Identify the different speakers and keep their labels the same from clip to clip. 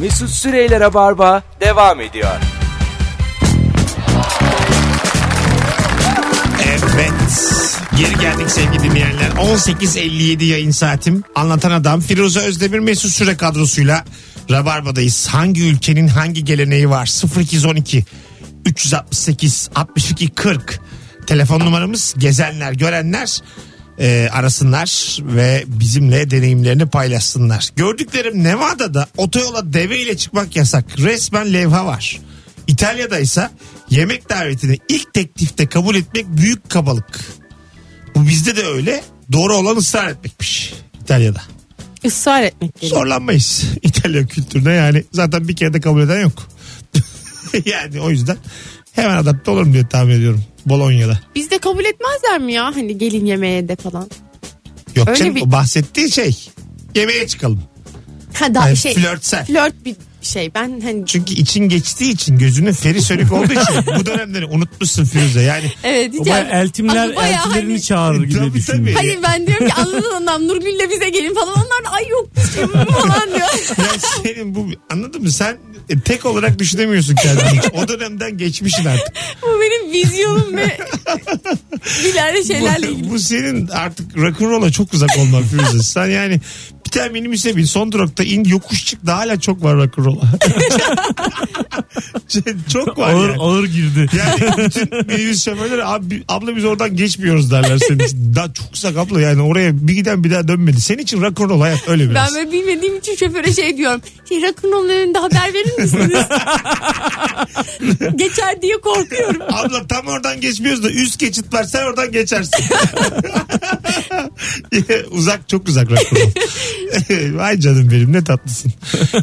Speaker 1: Mesut Süreyler'e barba devam ediyor.
Speaker 2: Evet. Geri geldik sevgili dinleyenler. 18.57 yayın saatim. Anlatan Adam Firuze Özdemir Mesut Süre kadrosuyla Rabarba'dayız. Hangi ülkenin hangi geleneği var? 0212 368 62 40 telefon numaramız. Gezenler, görenler e, arasınlar ve bizimle deneyimlerini paylaşsınlar. Gördüklerim Nevada'da otoyola deveyle çıkmak yasak. Resmen levha var. İtalya'da ise yemek davetini ilk teklifte kabul etmek büyük kabalık. Bu bizde de öyle. Doğru olan ısrar etmekmiş İtalya'da.
Speaker 3: Israr etmek gerekiyor.
Speaker 2: Zorlanmayız İtalya kültürüne yani. Zaten bir kere de kabul eden yok. yani o yüzden hemen adapte olurum diye tahmin ediyorum. Bolonya'da.
Speaker 3: Bizde kabul etmezler mi ya hani gelin yemeğe de falan.
Speaker 2: Yok
Speaker 3: Öyle
Speaker 2: canım
Speaker 3: bir-
Speaker 2: o bahsettiği şey. Yemeğe çıkalım.
Speaker 3: Ha daha
Speaker 2: Yani
Speaker 3: şey
Speaker 2: flörtsel.
Speaker 3: flört bir şey. Ben hani
Speaker 2: Çünkü için geçtiği için gözünün feri sönük olduğu için bu dönemleri unutmuşsun Firuze. Yani
Speaker 3: evet
Speaker 4: O
Speaker 3: hiç
Speaker 4: bayağı eltimler
Speaker 3: Ama bayağı
Speaker 4: eltilerini
Speaker 3: hani-
Speaker 4: çağırır
Speaker 2: Tabii,
Speaker 4: gibi düşünüyorum.
Speaker 2: tabii.
Speaker 3: Hayır ben diyorum ki anladın adam Nurgül'le bize gelin falan. Onlar da ay yok biz kim falan diyor.
Speaker 2: Ya senin bu anladın mı sen e, tek olarak düşünemiyorsun kendini. hiç. O dönemden geçmişsin artık.
Speaker 3: Bu benim vizyonum ve ileride şeylerle ilgili.
Speaker 2: Bu, bu senin artık rock'n'roll'a çok uzak olman Firuze. Sen yani bir tane minibüse bin son durakta in yokuş çık da hala çok var rock'n'roll'a. Şey, çok var
Speaker 4: Ağır,
Speaker 2: yani.
Speaker 4: ağır girdi.
Speaker 2: Yani bütün minibüs şoförleri abi, abla biz oradan geçmiyoruz derler senin için. Daha çok uzak abla yani oraya bir giden bir daha dönmedi. Senin için rock'n'roll hayat öyle biraz.
Speaker 3: Ben böyle bilmediğim için şoföre şey diyorum. Şey Rakınoğlu'nun önünde haber verir misiniz? Geçer diye korkuyorum.
Speaker 2: Abla tam oradan geçmiyoruz da üst geçit var sen oradan geçersin. uzak çok uzak rock'n'roll. Vay canım benim ne tatlısın.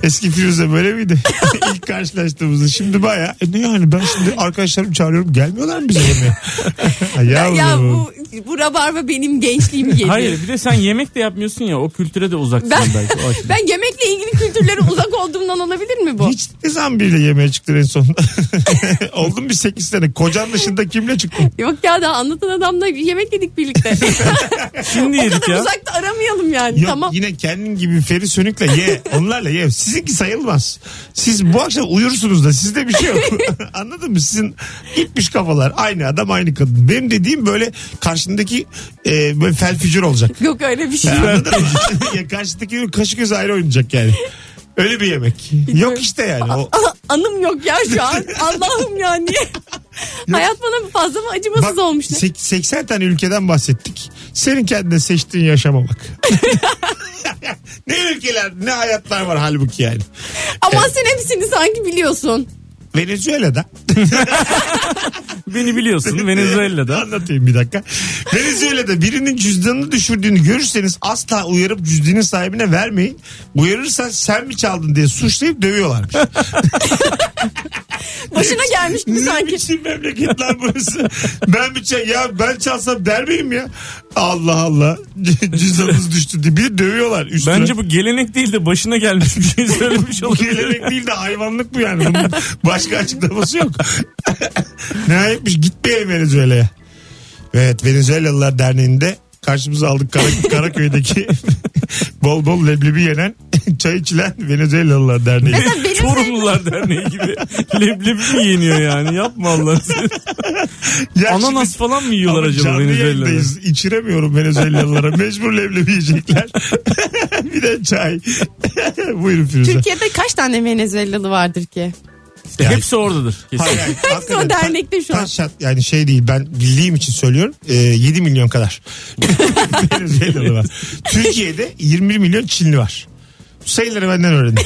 Speaker 2: Eski Firuze böyle miydi? İlk karşılaştığımızda şimdi baya. E ne yani ben şimdi arkadaşlarımı çağırıyorum gelmiyorlar mı bize yemeğe? Ay Yavrum.
Speaker 3: ya bu, bu rabarba benim gençliğim geliyor.
Speaker 4: Hayır bir de sen yemek de yapmıyorsun ya o kültüre de uzaksın
Speaker 3: Ben-
Speaker 4: belki. o açıdan.
Speaker 3: Ben yemekle ilgili kültürlere uzak olduğumdan olabilir mi bu?
Speaker 2: Hiç ne zaman biriyle yemeğe çıktın en son? Oldun bir 8 sene. Kocan dışında kimle çıktın?
Speaker 3: Yok ya daha anlatan adamla bir yemek yedik birlikte.
Speaker 4: Şimdi
Speaker 3: o
Speaker 4: yedik
Speaker 3: kadar
Speaker 4: ya.
Speaker 3: uzakta aramayalım yani.
Speaker 2: Yok
Speaker 3: tamam.
Speaker 2: yine kendin gibi Feri Sönük'le ye. Onlarla ye. Sizinki sayılmaz. Siz bu akşam uyursunuz da sizde bir şey yok. Anladın mı? Sizin gitmiş kafalar. Aynı adam aynı kadın. Benim dediğim böyle karşındaki e, böyle fel fücür olacak.
Speaker 3: Yok öyle bir şey.
Speaker 2: Ya Anladın mı? ya karşıdaki kaşı göz ayrı oynayacak yani. Öyle bir yemek. Yok işte yani. O,
Speaker 3: Aha, Anım yok ya şu an. Allah'ım ya niye? Hayat bana fazla mı acımasız
Speaker 2: Bak,
Speaker 3: olmuş? ne?
Speaker 2: sek- 80 tane ülkeden bahsettik. Senin kendine seçtiğin yaşama bak. ne ülkeler ne hayatlar var halbuki yani.
Speaker 3: Ama sen hepsini sanki biliyorsun.
Speaker 2: Venezuela'da.
Speaker 4: Beni biliyorsun Venezuela'da.
Speaker 2: Anlatayım bir dakika. Venezuela'da birinin cüzdanını düşürdüğünü görürseniz asla uyarıp cüzdanın sahibine vermeyin. Uyarırsan sen mi çaldın diye suçlayıp dövüyorlarmış.
Speaker 3: Başına gelmiş gibi
Speaker 2: ne
Speaker 3: sanki.
Speaker 2: biçim memleket lan burası? ben bir çal ya ben çalsam der miyim ya? Allah Allah. Cüzdanınız düştü diye. Bir de dövüyorlar üstüne.
Speaker 4: Bence bu gelenek değil de başına gelmiş bir şey söylemiş
Speaker 2: Bu
Speaker 4: olabilir.
Speaker 2: gelenek değil de hayvanlık bu yani. Bunun başka açıklaması yok. Nihayetmiş gitmeyelim Venezuela'ya. Evet Venezuelalılar Derneği'nde karşımıza aldık Kara- Karaköy'deki bol bol leblebi yenen çay içilen Venezuelalılar Derneği.
Speaker 3: Mesela benim
Speaker 4: Sorumlular Derneği gibi leblebi mi yeniyor yani yapma Allah'ını seversen.
Speaker 2: Ya
Speaker 4: Ananas
Speaker 2: şimdi-
Speaker 4: falan mı yiyorlar
Speaker 2: Ama
Speaker 4: acaba
Speaker 2: canlı
Speaker 4: Venezuela'da?
Speaker 2: yayındayız. İçiremiyorum Venezuelalılara. Mecbur leblebi yiyecekler. bir de çay. Buyurun Firuze.
Speaker 3: Türkiye'de kaç tane Venezuelalı vardır ki?
Speaker 2: Yani-
Speaker 4: Hepsi oradadır. kesin.
Speaker 2: Hayır, hayır. Hakikaten ta-
Speaker 3: dernekte şu an.
Speaker 2: taş şat- yani şey değil ben bildiğim için söylüyorum. Ee, 7 milyon kadar. Venezuelalı var. Türkiye'de 21 milyon Çinli var. Bu sayıları benden öğrendim.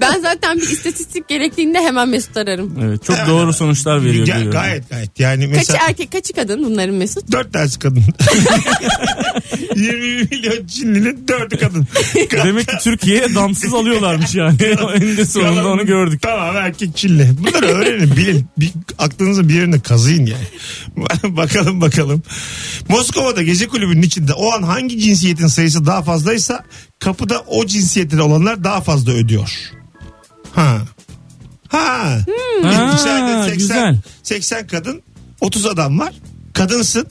Speaker 3: Ben zaten bir istatistik gerektiğinde hemen Mesut ararım.
Speaker 4: Evet, çok doğru sonuçlar veriyor.
Speaker 2: Ga-
Speaker 4: görüyorum.
Speaker 2: gayet gayet. Yani
Speaker 3: Kaçı
Speaker 2: mesela
Speaker 3: erkek kaçı kadın bunların Mesut?
Speaker 2: dört tanesi kadın. 21 milyon Çinlinin dördü kadın.
Speaker 4: Demek ki Türkiye'ye damsız alıyorlarmış yani. Eninde sonunda onu gördük.
Speaker 2: Tamam erkek Çinli. Bunları öğrenin bilin. Bir, aklınızın bir yerinde kazıyın yani. bakalım bakalım. Moskova'da gece kulübünün içinde o an hangi cinsiyetin sayısı daha fazlaysa kapıda o cinsiyetten olanlar daha fazla ödüyor. Ha. Ha.
Speaker 4: Hmm. Ha,
Speaker 2: İçeride 80,
Speaker 4: güzel.
Speaker 2: 80 kadın 30 adam var. Kadınsın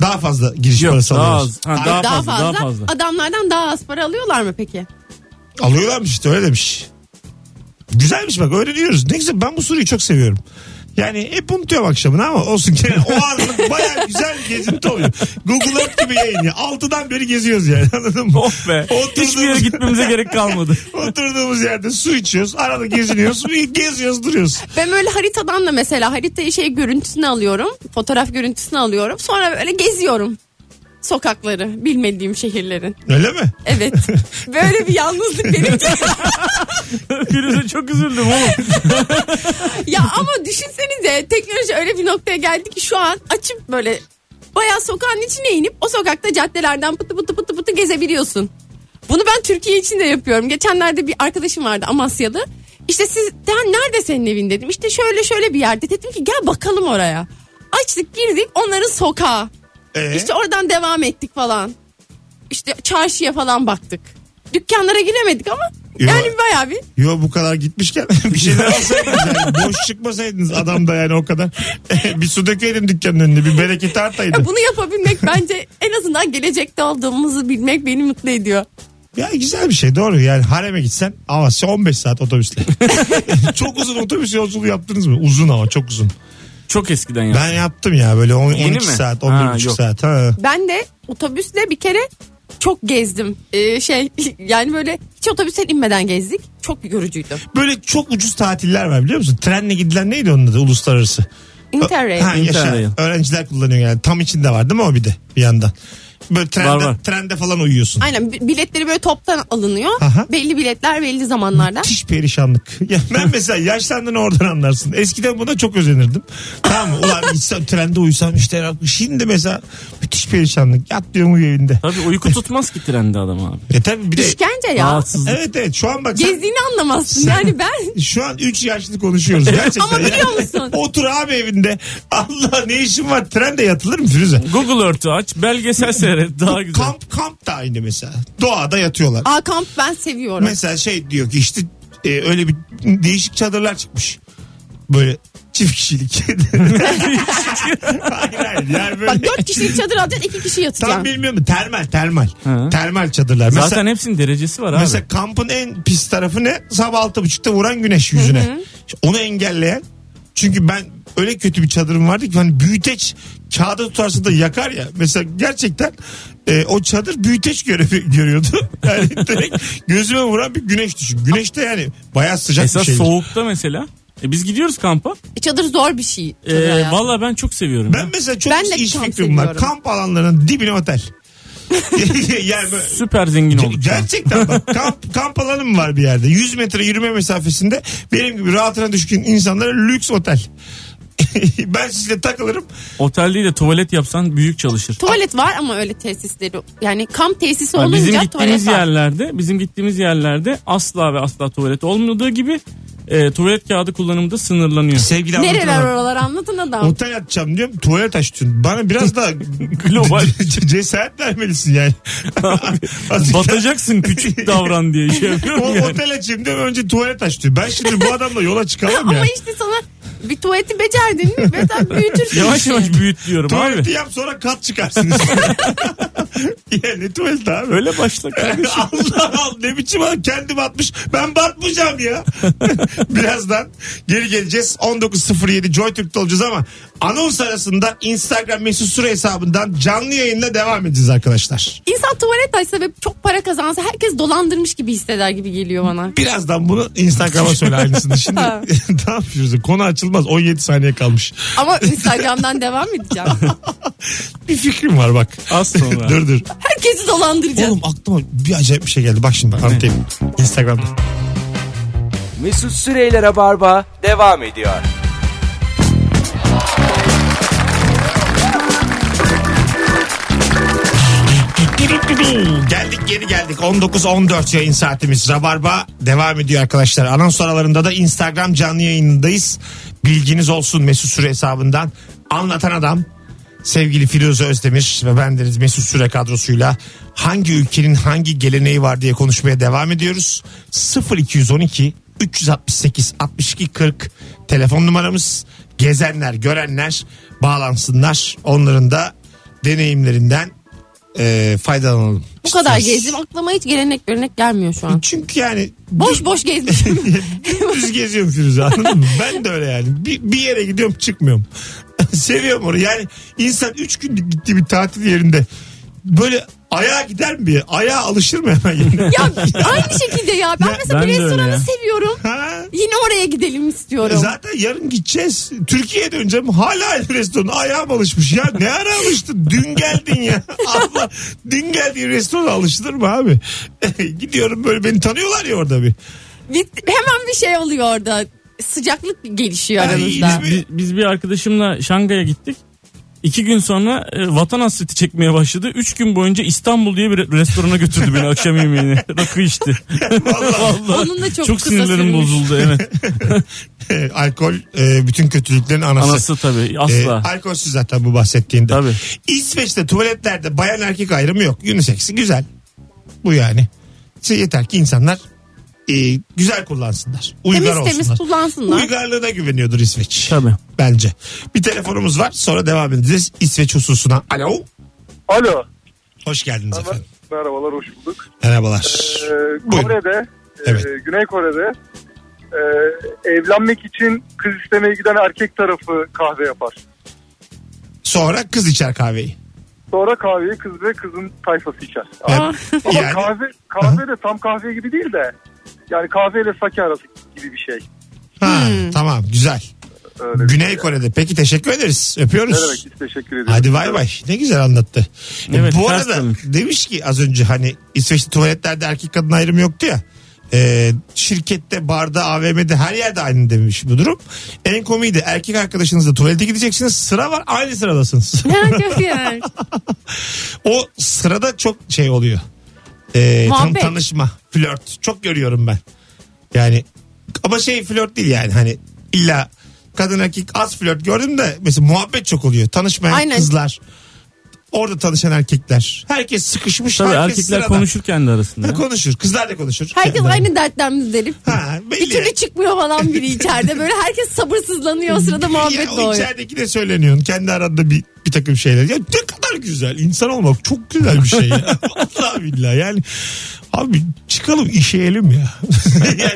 Speaker 2: daha fazla giriş
Speaker 4: Yok,
Speaker 2: parası
Speaker 4: daha
Speaker 2: alıyorsun.
Speaker 4: az. Ha,
Speaker 2: Ay,
Speaker 4: daha- fazla, daha fazla.
Speaker 3: Adamlardan daha az para alıyorlar mı peki?
Speaker 2: Alıyorlarmış işte öyle demiş. Güzelmiş bak öğreniyoruz. Ne güzel ben bu soruyu çok seviyorum. Yani e, hep unutuyorum akşamını ama olsun ki o anlık baya güzel bir gezinti oluyor. Google Earth gibi yayın ya. Altıdan beri geziyoruz yani anladın mı?
Speaker 4: Oh be.
Speaker 2: Oturduğumuz-
Speaker 4: Hiçbir yere gitmemize gerek kalmadı.
Speaker 2: Oturduğumuz yerde su içiyoruz. Arada geziniyoruz. bir geziyoruz duruyoruz.
Speaker 3: Ben böyle haritadan da mesela haritayı şey görüntüsünü alıyorum. Fotoğraf görüntüsünü alıyorum. Sonra böyle geziyorum sokakları bilmediğim şehirlerin.
Speaker 2: Öyle mi?
Speaker 3: Evet. Böyle bir yalnızlık benim için.
Speaker 4: Firuze çok üzüldüm oğlum.
Speaker 3: ya ama düşünsenize teknoloji öyle bir noktaya geldi ki şu an açıp böyle bayağı sokağın içine inip o sokakta caddelerden pıtı pıtı pıtı pıtı gezebiliyorsun. Bunu ben Türkiye için de yapıyorum. Geçenlerde bir arkadaşım vardı Amasyalı. İşte siz "Sen nerede senin evin dedim. İşte şöyle şöyle bir yerde dedim ki gel bakalım oraya. Açtık girdik onların sokağı.
Speaker 2: Ee?
Speaker 3: İşte oradan devam ettik falan. İşte çarşıya falan baktık. Dükkanlara giremedik ama
Speaker 2: Yo.
Speaker 3: yani bayağı bir
Speaker 2: Yo bu kadar gitmişken bir şeyler alsaydınız. Yani boş çıkmasaydınız adam da yani o kadar. bir su dökeydin dükkanın önüne. Bir bereketi artaydı.
Speaker 3: Ya E, bunu yapabilmek bence en azından gelecekte olduğumuzu bilmek beni mutlu ediyor.
Speaker 2: Ya güzel bir şey doğru yani hareme gitsen ama sen 15 saat otobüsle. çok uzun otobüs yolculuğu yaptınız mı? Uzun ama çok uzun.
Speaker 4: Çok eskiden ya.
Speaker 2: Ben yaptım ya böyle on-
Speaker 4: Yeni
Speaker 2: 12
Speaker 4: mi?
Speaker 2: saat
Speaker 4: Ha,
Speaker 2: 11,5
Speaker 4: yok.
Speaker 2: saat. Ha.
Speaker 3: Ben de otobüsle bir kere çok gezdim. Ee, şey yani böyle hiç otobüsten inmeden gezdik. Çok yorucuydu.
Speaker 2: Böyle çok ucuz tatiller var biliyor musun? Trenle gidilen neydi onun adı uluslararası?
Speaker 3: Interrail.
Speaker 2: Ha, yaşa.
Speaker 4: Interrail.
Speaker 2: Öğrenciler kullanıyor yani tam içinde var değil mi o bir de bir yandan? Böyle trende,
Speaker 4: Var, var.
Speaker 2: trende falan uyuyorsun.
Speaker 3: Aynen bi- biletleri böyle toptan alınıyor.
Speaker 2: Aha.
Speaker 3: Belli biletler belli zamanlarda.
Speaker 2: Müthiş perişanlık. Ya ben mesela yaşlandığını oradan anlarsın. Eskiden buna çok özenirdim. Tamam mı? Ulan gitsem trende uysam işte. rahat- Şimdi mesela müthiş perişanlık. Yat diyorum uyu evinde.
Speaker 4: Tabii uyku tutmaz ki trende adam abi.
Speaker 2: E tabii bir de...
Speaker 3: İşkence ya.
Speaker 4: Rahatsız.
Speaker 2: Evet evet şu an bak sen-
Speaker 3: Gezdiğini anlamazsın yani ben.
Speaker 2: şu an 3 yaşlı konuşuyoruz gerçekten.
Speaker 3: Ama
Speaker 2: ya.
Speaker 3: biliyor musun?
Speaker 2: Otur abi evinde. Allah ne işin var trende yatılır mı Firuze?
Speaker 4: Google Earth'ü aç, belgesel seyret daha güzel.
Speaker 2: Kamp kamp da aynı mesela. Doğada yatıyorlar.
Speaker 3: Aa kamp ben seviyorum.
Speaker 2: Mesela şey diyor ki işte e, öyle bir değişik çadırlar çıkmış. Böyle çift kişilik. hayır hayır yani böyle.
Speaker 3: Bak dört kişilik çadır alacaksın iki kişi
Speaker 2: Tam
Speaker 3: yatacaksın.
Speaker 2: bilmiyorum termal termal.
Speaker 4: Hı.
Speaker 2: Termal çadırlar.
Speaker 4: Zaten
Speaker 2: mesela,
Speaker 4: hepsinin derecesi var abi.
Speaker 2: mesela kampın en pis tarafı ne? Sabah altı buçukta vuran güneş yüzüne. İşte Onu engelleyen. Çünkü ben öyle kötü bir çadırım vardı ki hani büyüteç kağıda tutarsa da yakar ya. Mesela gerçekten e, o çadır büyüteç görevi görüyordu. Yani direkt gözüme vuran bir güneş düşün. Güneş de yani bayağı sıcak
Speaker 4: Esas
Speaker 2: bir şey.
Speaker 4: soğukta mesela. E biz gidiyoruz kampa.
Speaker 3: Çadır zor bir şey. çadır
Speaker 4: E,
Speaker 3: hayatı.
Speaker 4: Valla ben çok seviyorum.
Speaker 2: Ben
Speaker 4: ya.
Speaker 2: mesela çok
Speaker 3: Ben de
Speaker 2: iş
Speaker 3: kamp
Speaker 2: fikrim var.
Speaker 3: seviyorum.
Speaker 2: Kamp alanlarının dibine otel. yani böyle-
Speaker 4: Süper zengin
Speaker 2: Ge-
Speaker 4: olduk. şu an.
Speaker 2: Gerçekten bak kamp, kamp alanı mı var bir yerde? 100 metre yürüme mesafesinde benim gibi rahatına düşkün insanlara lüks otel. ben sizle takılırım.
Speaker 4: Otel değil de tuvalet yapsan büyük çalışır.
Speaker 3: Tuvalet var ama öyle tesisleri yani kamp tesisi
Speaker 4: Yani
Speaker 3: olunca
Speaker 4: bizim gittiğimiz
Speaker 3: tuvalet var.
Speaker 4: yerlerde, bizim gittiğimiz yerlerde asla ve asla tuvalet olmadığı gibi e, tuvalet kağıdı kullanımı da sınırlanıyor.
Speaker 2: Sevgili
Speaker 3: Nereler
Speaker 2: anlatan adam,
Speaker 3: oralar anlatın adam.
Speaker 2: Otel açacağım diyorum tuvalet açtın. Bana biraz daha
Speaker 4: Global.
Speaker 2: cesaret vermelisin yani. Azıcık-
Speaker 4: Batacaksın küçük davran diye şey
Speaker 2: O
Speaker 4: yapıyorum yani.
Speaker 2: otel açayım diyorum önce tuvalet aç diyor. Ben şimdi bu adamla yola çıkamam ya.
Speaker 3: Ama işte sana bir tuvaleti becerdin mi? Ve sen büyütürsün.
Speaker 4: Yavaş
Speaker 3: işi.
Speaker 2: Şey,
Speaker 4: yavaş büyüt diyorum abi.
Speaker 2: Tuvaleti yap sonra kat çıkarsınız. yani tuvalet abi.
Speaker 4: Öyle başla kardeşim.
Speaker 2: Allah Allah ne biçim adam kendi batmış. Ben batmayacağım ya. Birazdan geri geleceğiz. 19.07 JoyTürk'te olacağız ama anons arasında Instagram mesut süre hesabından canlı yayınla devam edeceğiz arkadaşlar.
Speaker 3: İnsan tuvalet açsa ve çok para kazansa herkes dolandırmış gibi hisseder gibi geliyor bana.
Speaker 2: Birazdan bunu Instagram'a söyle aynısını. Şimdi ne yapıyoruz? Konu açılmaz. 17 saniye kalmış.
Speaker 3: Ama Instagram'dan devam edeceğim.
Speaker 2: Bir fikrim var bak.
Speaker 4: Az sonra.
Speaker 2: dur dur.
Speaker 3: Herkesi dolandıracağım.
Speaker 2: Oğlum aklıma bir acayip bir şey geldi. Bak şimdi anlatayım. Instagram'da.
Speaker 1: Mesut Süreyler'e barba devam ediyor.
Speaker 2: Geldik geri geldik. 19.14 yayın saatimiz. Rabarba devam ediyor arkadaşlar. Anons aralarında da Instagram canlı yayınındayız. Bilginiz olsun Mesut Süre hesabından. Anlatan adam sevgili Firuze Özdemir ve bendeniz Mesut Süre kadrosuyla hangi ülkenin hangi geleneği var diye konuşmaya devam ediyoruz. 0212 368 62 40 telefon numaramız. Gezenler, görenler bağlansınlar. Onların da deneyimlerinden e, faydalanalım.
Speaker 3: Bu kadar
Speaker 2: İstiyoruz.
Speaker 3: gezdim. Aklıma hiç gelenek görenek gelmiyor şu an.
Speaker 2: Çünkü yani
Speaker 3: Boş boş gezmişim.
Speaker 2: düz geziyorum Firuze anladın mı? Ben de öyle yani. Bir, bir yere gidiyorum çıkmıyorum. Seviyorum onu. Yani insan 3 günlük gittiği bir tatil yerinde böyle ayağa gider mi? bir yere? Ayağa alışır mı hemen? Yani?
Speaker 3: ya aynı şekilde ya. Ben mesela
Speaker 4: ben
Speaker 3: bir
Speaker 4: de öyle ya.
Speaker 3: restoranı seviyorum.
Speaker 2: Ha? E
Speaker 3: Yine oraya gidelim istiyorum.
Speaker 2: Zaten yarın gideceğiz. Türkiye'ye döneceğim. Hala aynı restoran. Ayağım alışmış. Ya ne ara alıştın? Dün geldin ya. Allah. Dün geldiğin restorana alışılır mı abi? Gidiyorum böyle beni tanıyorlar ya orada bir.
Speaker 3: Bir- hemen bir şey oluyor orada. Sıcaklık gelişiyor
Speaker 2: Ay,
Speaker 3: aramızda.
Speaker 2: İzmir-
Speaker 4: Biz, biz bir arkadaşımla Şangay'a gittik. İki gün sonra e, vatan hasreti çekmeye başladı. Üç gün boyunca İstanbul diye bir re- restorana götürdü beni akşam yemeğine. Rakı içti.
Speaker 2: Vallahi
Speaker 3: Onun da çok,
Speaker 4: Çok
Speaker 3: kısa
Speaker 4: sinirlerim
Speaker 3: sürmüş.
Speaker 4: bozuldu evet.
Speaker 2: e, alkol e, bütün kötülüklerin anası.
Speaker 4: Anası tabii
Speaker 2: E,
Speaker 4: asla.
Speaker 2: alkolsüz zaten bu bahsettiğinde.
Speaker 4: Tabii.
Speaker 2: İsveç'te tuvaletlerde bayan erkek ayrımı yok. Unisex'i güzel. Bu yani. Şey, yeter ki insanlar e, güzel kullansınlar. Uygar
Speaker 3: Temiz
Speaker 2: olsunlar.
Speaker 3: temiz kullansınlar.
Speaker 2: Uygarlığına güveniyordur İsveç.
Speaker 4: Tabii.
Speaker 2: Bence. Bir telefonumuz var sonra devam edeceğiz İsveç hususuna. Alo.
Speaker 5: Alo.
Speaker 2: Hoş geldiniz
Speaker 5: Merhaba.
Speaker 2: efendim.
Speaker 5: Merhabalar, hoş bulduk.
Speaker 2: Merhabalar.
Speaker 5: Ee,
Speaker 2: Buyurun.
Speaker 5: Kore'de, e,
Speaker 2: Evet.
Speaker 5: Güney Kore'de e, evlenmek için kız istemeye giden erkek tarafı kahve yapar.
Speaker 2: Sonra kız içer kahveyi.
Speaker 5: Sonra kahveyi kız ve kızın tayfası içer.
Speaker 3: Aa.
Speaker 5: Ama
Speaker 2: E, Yani-
Speaker 5: kahve, kahve de tam kahve gibi değil de yani kahveyle sake arası gibi bir şey.
Speaker 2: Ha, Tamam güzel.
Speaker 5: Öyle bir
Speaker 2: Güney
Speaker 5: şey.
Speaker 2: Kore'de. Peki teşekkür ederiz. Öpüyoruz.
Speaker 5: Ne demek hiç teşekkür ederim.
Speaker 2: Hadi bay bay. Ne güzel anlattı. E,
Speaker 4: Evet,
Speaker 2: bu
Speaker 4: ters
Speaker 2: arada
Speaker 4: dönmüş.
Speaker 2: demiş ki az önce hani İsveç'te tuvaletlerde erkek kadın ayrımı yoktu ya. E, şirkette, barda, AVM'de her yerde aynı demiş bu durum. En komiği de erkek arkadaşınızla tuvalete gideceksiniz. Sıra var aynı sıradasınız.
Speaker 3: Ha, çok güzel.
Speaker 2: o sırada çok şey oluyor. Ee, tam
Speaker 3: Muhabbet.
Speaker 2: tanışma, flört. Çok görüyorum ben. Yani ama şey flört değil yani hani illa kadın erkek az flört gördüm de mesela muhabbet çok oluyor. Tanışmayan
Speaker 3: Aynen.
Speaker 2: kızlar. Orada tanışan erkekler. Herkes sıkışmış.
Speaker 4: Tabii
Speaker 2: herkes
Speaker 4: erkekler
Speaker 2: sırada.
Speaker 4: konuşurken de arasında.
Speaker 2: Ha, konuşur. Kızlar da konuşur.
Speaker 3: Herkes
Speaker 2: Kendileri.
Speaker 3: aynı dertten müzdarip.
Speaker 2: Ha, belli.
Speaker 3: Bir türlü çıkmıyor falan biri içeride. Böyle herkes sabırsızlanıyor. O sırada muhabbet
Speaker 2: ya, o
Speaker 3: doğuyor.
Speaker 2: içerideki de söyleniyorsun. Kendi aranda bir, bir takım şeyler. Ya ne kadar güzel. İnsan olmak çok güzel bir şey ya. Vallahi billahi yani. Abi çıkalım işeyelim ya. yani,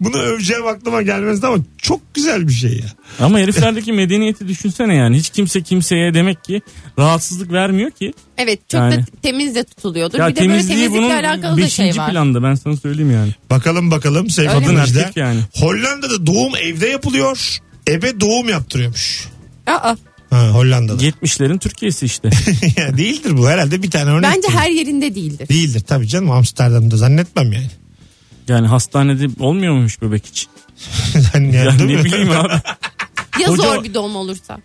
Speaker 2: bunu öveceğim aklıma gelmezdi ama çok güzel bir şey ya.
Speaker 4: Ama heriflerdeki medeniyeti düşünsene yani. Hiç kimse kimseye demek ki rahatsızlık vermiyor ki.
Speaker 3: Evet çok
Speaker 4: Yani.
Speaker 3: da temiz de tutuluyordur.
Speaker 4: Ya
Speaker 3: bir de böyle
Speaker 4: temizliği bunun
Speaker 3: temizlikle alakalı da şey
Speaker 4: beşinci
Speaker 3: var.
Speaker 4: planda ben sana söyleyeyim yani.
Speaker 2: Bakalım bakalım sevgili
Speaker 3: Öyle mi?
Speaker 2: dinleyiciler.
Speaker 4: Erkek yani.
Speaker 2: Hollanda'da doğum evde yapılıyor. Ebe doğum yaptırıyormuş.
Speaker 3: Aa,
Speaker 2: Ha, Hollanda'da.
Speaker 4: 70'lerin Türkiye'si işte.
Speaker 2: Ya değildir bu herhalde bir tane örnek.
Speaker 3: bence
Speaker 2: değil.
Speaker 3: her yerinde değildir.
Speaker 2: Değildir tabii canım Amsterdam'da zannetmem yani.
Speaker 4: Yani hastanede olmuyor muymuş bebek için?
Speaker 2: yani,
Speaker 4: Yani
Speaker 2: değil
Speaker 4: ne
Speaker 2: mi?
Speaker 4: bileyim abi.
Speaker 3: Ya
Speaker 4: Hoca-
Speaker 3: zor bir doğum olursa.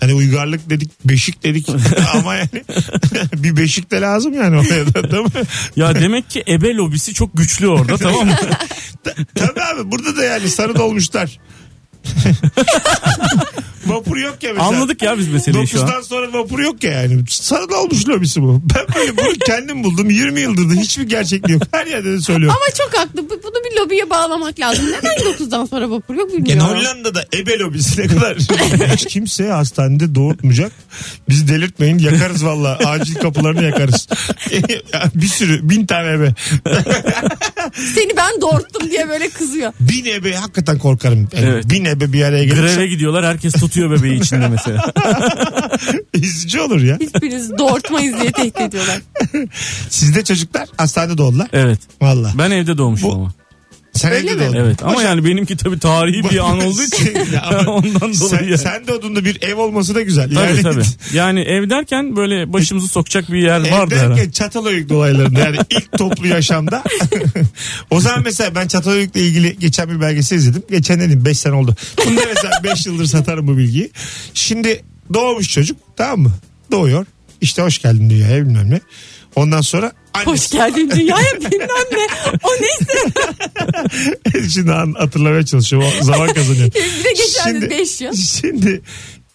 Speaker 2: Hani uygarlık dedik, beşik dedik ama yani bir beşik de lazım yani oraya da değil mi?
Speaker 4: Ya demek ki ebe lobisi çok güçlü orada tamam mı?
Speaker 2: Tabii abi burada da yani sarı dolmuşlar. vapur yok ya mesela.
Speaker 4: Anladık ya biz meseleyi şu an.
Speaker 2: 9'dan sonra vapur yok ya yani. Sarı dolmuş lobisi bu. Ben böyle bunu kendim buldum. 20 yıldır da hiçbir gerçekliği yok. Her yerde de söylüyorum.
Speaker 3: Ama çok haklı. Bu- Bunu bir lobiye bağlamak lazım. Neden 9'dan sonra vapur yok
Speaker 2: Yani
Speaker 3: bilmiyorum.
Speaker 2: E, Hollanda'da ebe lobisi ne kadar hiç kimse hastanede doğurtmayacak. Bizi delirtmeyin yakarız valla. Acil kapılarını yakarız. bir sürü bin tane ebe.
Speaker 3: Seni ben doğurttum diye böyle kızıyor.
Speaker 2: Bin ebe hakikaten korkarım. Yani
Speaker 4: Evet.
Speaker 2: Bin ebe bir araya
Speaker 4: Greve
Speaker 2: gelirse
Speaker 4: gidiyorlar herkes tutuyor bebeği içinde mesela.
Speaker 2: üzücü olur ya.
Speaker 3: Hiçbirinizi doğurtmayız diye tehdit ediyorlar.
Speaker 2: Sizde çocuklar hastanede doğdular.
Speaker 4: Evet.
Speaker 2: Valla.
Speaker 4: Ben evde doğmuşum
Speaker 2: Bu-
Speaker 4: ama.
Speaker 2: Sen
Speaker 3: Öyle
Speaker 2: evde
Speaker 3: mi?
Speaker 2: doğdun.
Speaker 4: Evet ama yani benimki tabii tarihi bir an olduğu için
Speaker 2: Ya ama
Speaker 4: ondan
Speaker 2: sen,
Speaker 4: dolayı. Sen,
Speaker 2: sen doğduğunda bir ev olması da güzel.
Speaker 4: tabii
Speaker 2: yani,
Speaker 4: tabii. Yani ev derken böyle başımızı sokacak bir yer vardı herhalde.
Speaker 2: Evdeyken Çatalhöyük dolaylarında yani ilk toplu yaşamda. o zaman mesela ben Çatalhöyük'le ilgili geçen bir belgesel izledim. Geçen dedim 5 sene oldu. Bunu da mesela 5 yıldır satarım bu bilgiyi. Şimdi doğmuş çocuk tamam mı? Doğuyor. İşte hoş geldin dünyaya bilmem ne. Ondan sonra
Speaker 3: Hoş
Speaker 2: annesi,
Speaker 3: geldin dünyaya bilmem ne. O neyse.
Speaker 2: şimdi an- hatırlamaya çalışıyor. O zaman kazanıyor.
Speaker 3: Bir de geçen de 5 yıl.
Speaker 2: Şimdi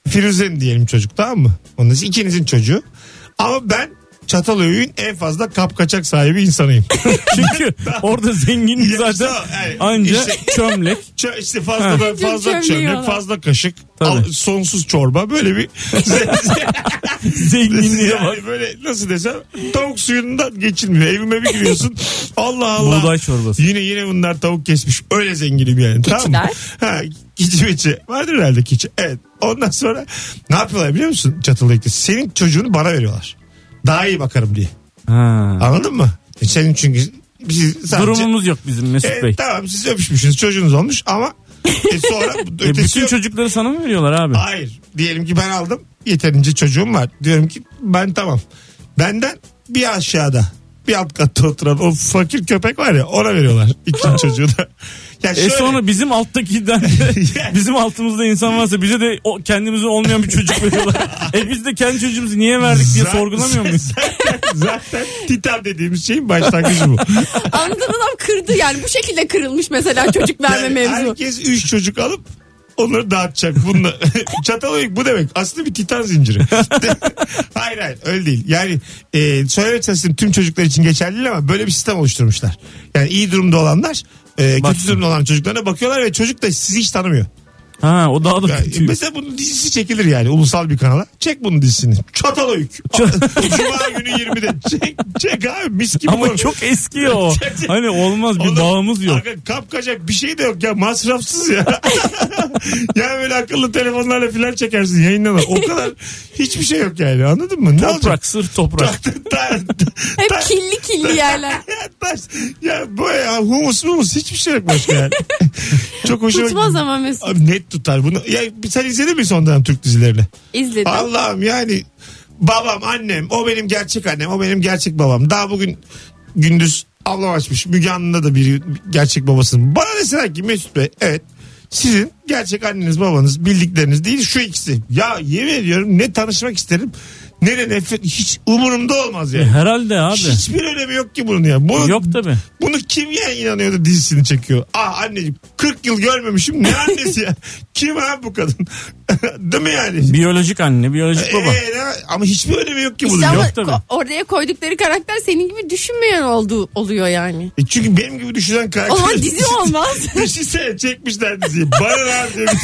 Speaker 2: Firuze'nin diyelim çocuk tamam mı? Onun ikinizin çocuğu. Ama ben Çatalhöyük'ün en fazla kapkaçak sahibi insanıyım.
Speaker 4: Çünkü orada zenginlik
Speaker 2: Yoksa,
Speaker 4: zaten
Speaker 2: yani
Speaker 4: anca
Speaker 2: işte-
Speaker 4: çömlek.
Speaker 2: Çö- işte fazla böyle
Speaker 3: Çok
Speaker 2: fazla
Speaker 3: çömleği
Speaker 2: çömlek,
Speaker 3: olan.
Speaker 2: fazla kaşık,
Speaker 4: Tabii.
Speaker 2: al- sonsuz çorba böyle bir
Speaker 4: Zenginliğe bak.
Speaker 2: yani böyle nasıl desem tavuk suyundan geçilmiyor. Evime bir giriyorsun. Allah Allah.
Speaker 4: Buğday çorbası.
Speaker 2: Yine yine bunlar tavuk kesmiş. Öyle zenginim yani. Tamam mı? Ha, keçi meçi. Vardır herhalde keçi. Evet. Ondan sonra ne yapıyorlar biliyor musun Çatalhöyük'te? Senin çocuğunu bana veriyorlar. Daha iyi bakarım diye.
Speaker 4: Ha.
Speaker 2: Anladın mı? E senin çünkü biz sadece...
Speaker 4: Durumumuz yok bizim Mesut
Speaker 2: E,
Speaker 4: Bey.
Speaker 2: tamam siz öpüşmüşsünüz çocuğunuz olmuş ama e, sonra
Speaker 4: E,
Speaker 2: ötesi
Speaker 4: bütün
Speaker 2: yok.
Speaker 4: çocukları sana mı veriyorlar abi?
Speaker 2: Hayır. Diyelim ki ben aldım. Yeterince çocuğum var. Diyorum ki ben tamam. Benden bir aşağıda bir alt katta oturan o fakir köpek var ya ona veriyorlar ikinci çocuğu da. Ya
Speaker 4: E
Speaker 2: şöyle,
Speaker 4: sonra bizim alttakiden bizim altımızda insan varsa bize de o kendimize olmayan bir çocuk veriyorlar. e biz de kendi çocuğumuzu niye verdik diye
Speaker 2: Zaten-
Speaker 4: sorgulamıyor muyuz?
Speaker 2: Zaten, zaten titan dediğimiz şeyin başlangıcı bu.
Speaker 3: Anladın adam kırdı yani bu şekilde kırılmış mesela çocuk verme
Speaker 2: Yani
Speaker 3: mevzu.
Speaker 2: herkes 3 çocuk alıp onları dağıtacak. Bununla. Çatalhöyük bu demek. Aslında bir titan zinciri. hayır hayır öyle değil. Yani e, söyleme çalıştığım tüm çocuklar için geçerli değil ama böyle bir sistem oluşturmuşlar. Yani iyi durumda olanlar e, kötü
Speaker 4: Baksın.
Speaker 2: durumda olan çocuklarına bakıyorlar ve çocuk da sizi hiç tanımıyor.
Speaker 4: Ha o daha da
Speaker 2: Yani
Speaker 4: kötü.
Speaker 2: mesela bunun dizisi çekilir yani ulusal bir kanala. Çek bunun dizisini. Çatalhöyük. Cuma günü 20'de. Çek, çek abi mis gibi.
Speaker 4: Ama
Speaker 2: olur.
Speaker 4: çok eski ya o. hani olmaz bir
Speaker 2: Oğlum,
Speaker 4: bağımız yok.
Speaker 2: aga, kapkacak bir şey de yok ya masrafsız ya. yani böyle akıllı telefonlarla filan çekersin yayınlanır. O kadar hiçbir şey yok yani anladın mı? Ne olacak?
Speaker 4: Toprak sırf toprak.
Speaker 2: Ta- ta-
Speaker 3: Hep
Speaker 2: ta-
Speaker 3: kirli kirli yerler.
Speaker 2: ya, taş- ya bu ya humus humus hiçbir şey yok başka yani. Çok hoşuma
Speaker 3: Tutmaz ama Mesut.
Speaker 2: Abi net tutar bunu. Ya sen izledin mi son dönem Türk dizilerini?
Speaker 3: İzledim.
Speaker 2: Allah'ım yani babam annem o benim gerçek annem o benim gerçek babam. Daha bugün gündüz ablam açmış Müge Anlı'nda da bir gerçek babasının. Bana deseler ki Mesut Bey evet sizin gerçek anneniz babanız bildikleriniz değil şu ikisi. Ya yemin ediyorum ne tanışmak isterim ne de nefret hiç umurumda olmaz
Speaker 4: E,
Speaker 2: yani.
Speaker 4: herhalde abi.
Speaker 2: Hiçbir önemi yok ki bunun ya. Bunu,
Speaker 4: Yok tabi.
Speaker 2: bunu kim ya inanıyor da dizisini çekiyor? Ah anneciğim 40 yıl görmemişim ne annesi ya? kim ha bu kadın? değil mi yani?
Speaker 4: Biyolojik anne, biyolojik baba.
Speaker 2: Ee, ne- ama hiçbir önemi yok ki bunun.
Speaker 3: İşte ama
Speaker 4: Yok tabii.
Speaker 3: ko- oraya koydukları karakter senin gibi düşünmeyen olduğu oluyor yani.
Speaker 2: E çünkü benim gibi düşünen karakter.
Speaker 3: O zaman dizi olmaz.
Speaker 2: Düşünsene çekmişler diziyi. Bana ne abi demiş.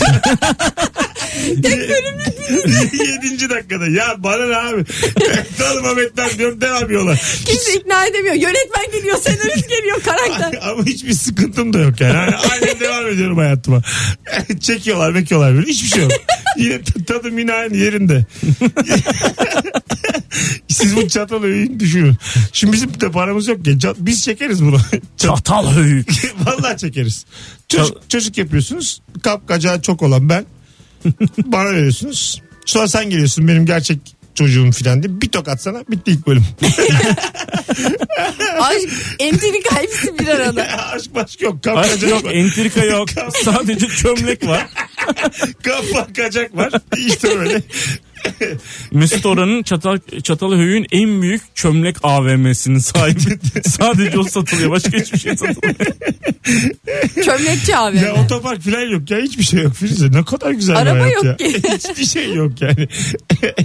Speaker 2: Tek Yedinci dakikada. Ya bana ne abi. Tanım Ahmet'ten diyorum devam yola.
Speaker 3: Kimse ikna edemiyor. Yönetmen geliyor, senarist geliyor, karakter.
Speaker 2: Ama hiçbir sıkıntım da yok yani. yani aynen devam ediyorum hayatıma. Çekiyorlar mekiyorlar böyle. Hiçbir şey yok. Yine t- tadım yine aynı yerinde. Siz bu çatal öğün düşünün. Şimdi bizim de paramız yok ki. Ca- Biz çekeriz bunu. Çat-
Speaker 4: Çatal höyük.
Speaker 2: Vallahi çekeriz. Çocuk, çocuk yapıyorsunuz. Kapkacağı çok olan ben. Bana veriyorsunuz. Sonra sen geliyorsun benim gerçek çocuğum filan diye. Bir tokat sana bitti ilk bölüm.
Speaker 3: Aşk, entrika hepsi bir arada.
Speaker 2: Aşk başka yok.
Speaker 4: Aşk
Speaker 2: Kapkacağı
Speaker 4: yok, entrika yok. Sadece çömlek var.
Speaker 2: Kafa kacak var. İşte böyle.
Speaker 4: Mesut Orhan'ın Çatal, Çatalhöyük'ün en büyük çömlek AVM'sinin sahibi. Sadece o satılıyor. Başka hiçbir şey satılmıyor.
Speaker 3: Çömlekçi abi.
Speaker 2: ya otopark falan yok ya. Hiçbir şey yok Firuze. Ne kadar güzel bir
Speaker 3: Araba
Speaker 2: hayat
Speaker 3: yok
Speaker 2: ya.
Speaker 3: ki.
Speaker 2: Hiçbir şey yok yani.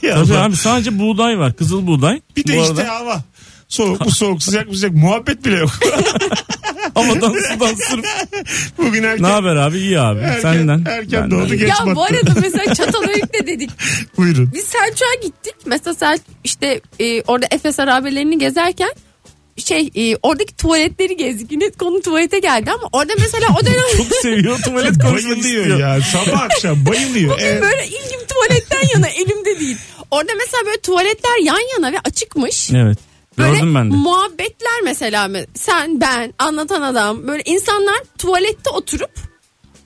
Speaker 2: Ya
Speaker 4: Tabii
Speaker 2: Allah.
Speaker 4: abi sadece buğday var. Kızıl buğday.
Speaker 2: Bir de
Speaker 4: Bu
Speaker 2: işte
Speaker 4: arada.
Speaker 2: hava. Soğuk mu soğuk sıcak mı sıcak muhabbet bile yok.
Speaker 4: Ama dansından sırf.
Speaker 2: Bugün erken.
Speaker 4: Ne haber abi? İyi abi.
Speaker 2: Erken,
Speaker 4: Senden.
Speaker 2: erken
Speaker 4: Benden.
Speaker 2: doğdu geç
Speaker 3: Ya
Speaker 2: battı.
Speaker 3: bu arada mesela Çatalhöyük'te dedik.
Speaker 2: Buyurun.
Speaker 3: Biz Selçuk'a gittik. Mesela Selçuk işte e, orada Efes harabelerini gezerken şey e, oradaki tuvaletleri gezdik. Yine konu tuvalete geldi ama orada mesela o dönem
Speaker 4: Çok seviyor. Tuvalet konusunu
Speaker 2: Bayılıyor
Speaker 4: istiyor.
Speaker 2: ya. Sabah akşam bayılıyor. Ee,
Speaker 3: böyle ilgim tuvaletten yana elimde değil. Orada mesela böyle tuvaletler yan yana ve açıkmış.
Speaker 4: Evet.
Speaker 3: Böyle
Speaker 4: Gördüm ben de.
Speaker 3: muhabbetler mesela me- sen ben anlatan adam böyle insanlar tuvalette oturup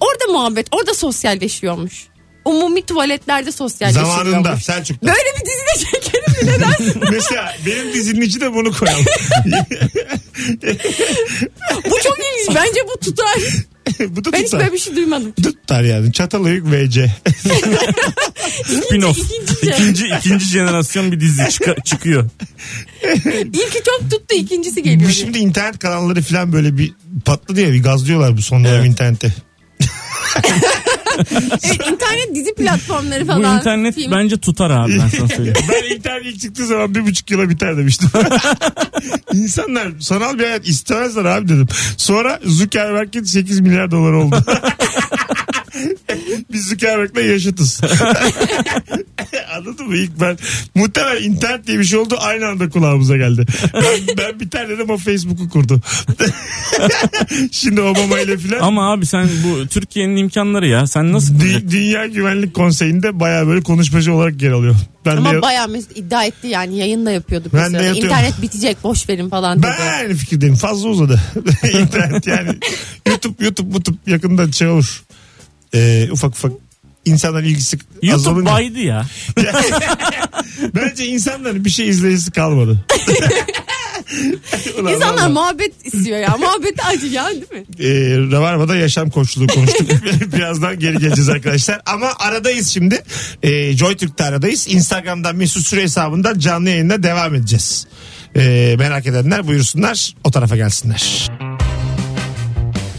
Speaker 3: orada muhabbet orada sosyalleşiyormuş. Umumi tuvaletlerde sosyalleşiyormuş.
Speaker 2: Zamanında Selçuk'ta.
Speaker 3: Böyle bir dizide çekelim mi ne dersin?
Speaker 2: Mesela benim dizinin içine bunu koyalım.
Speaker 3: bu çok ilginç bence bu tutar.
Speaker 2: Bu da
Speaker 3: Ben hiç
Speaker 2: tutar.
Speaker 3: böyle bir şey duymadım.
Speaker 2: Tutar yani. Çatalhöyük VC.
Speaker 4: Spin-off.
Speaker 3: İkinci- ikinci-
Speaker 4: İkinci, ikinci jenerasyon bir dizi çıka- çıkıyor.
Speaker 3: İlki çok tuttu ikincisi geliyor.
Speaker 2: Bu şimdi internet kanalları falan böyle bir patladı ya bir gazlıyorlar bu son dönem internette.
Speaker 3: Evet internet dizi platformları
Speaker 4: Bu
Speaker 3: falan.
Speaker 4: internet
Speaker 3: film.
Speaker 4: bence tutar abi ben sana söyleyeyim.
Speaker 2: Ben internet ilk çıktığı zaman bir buçuk yıla biter demiştim. İnsanlar sanal bir hayat istemezler abi dedim. Sonra Zuckerberg'in 8 milyar dolar oldu. Biz Zuckerberg'le yaşatız. Anladın mı? İlk ben muhtemelen internet diye bir şey oldu aynı anda kulağımıza geldi. Ben, ben biter dedim o Facebook'u kurdu. Şimdi Obama ile filan.
Speaker 4: Ama abi sen bu Türkiye'nin imkanları ya. Sen nasıl
Speaker 2: Dü- Dünya Güvenlik Konseyi'nde baya böyle konuşmacı olarak yer alıyor. Ben
Speaker 3: Ama
Speaker 2: de,
Speaker 3: bayağı mes- iddia etti yani yayınla yapıyordu.
Speaker 2: Ben de
Speaker 3: mesela.
Speaker 2: yatıyorum.
Speaker 3: İnternet bitecek boş verin falan dedi.
Speaker 2: ben aynı fikirdeyim. Fazla uzadı. İnternet yani. YouTube, YouTube, YouTube yakında şey olur. Ee, ufak ufak insanların ilgisi az
Speaker 4: YouTube
Speaker 2: olunca.
Speaker 4: baydı ya.
Speaker 2: Bence insanların bir şey izleyicisi kalmadı. Ulan
Speaker 3: İnsanlar
Speaker 2: vallahi.
Speaker 3: muhabbet istiyor ya. Muhabbet acı ya değil mi?
Speaker 2: e, Rabarba'da yaşam koçluğu konuştuk. Birazdan geri geleceğiz arkadaşlar. Ama aradayız şimdi. E, JoyTürk'te aradayız. Instagram'dan Mesut Süre hesabından canlı yayında devam edeceğiz. E, merak edenler buyursunlar o tarafa gelsinler.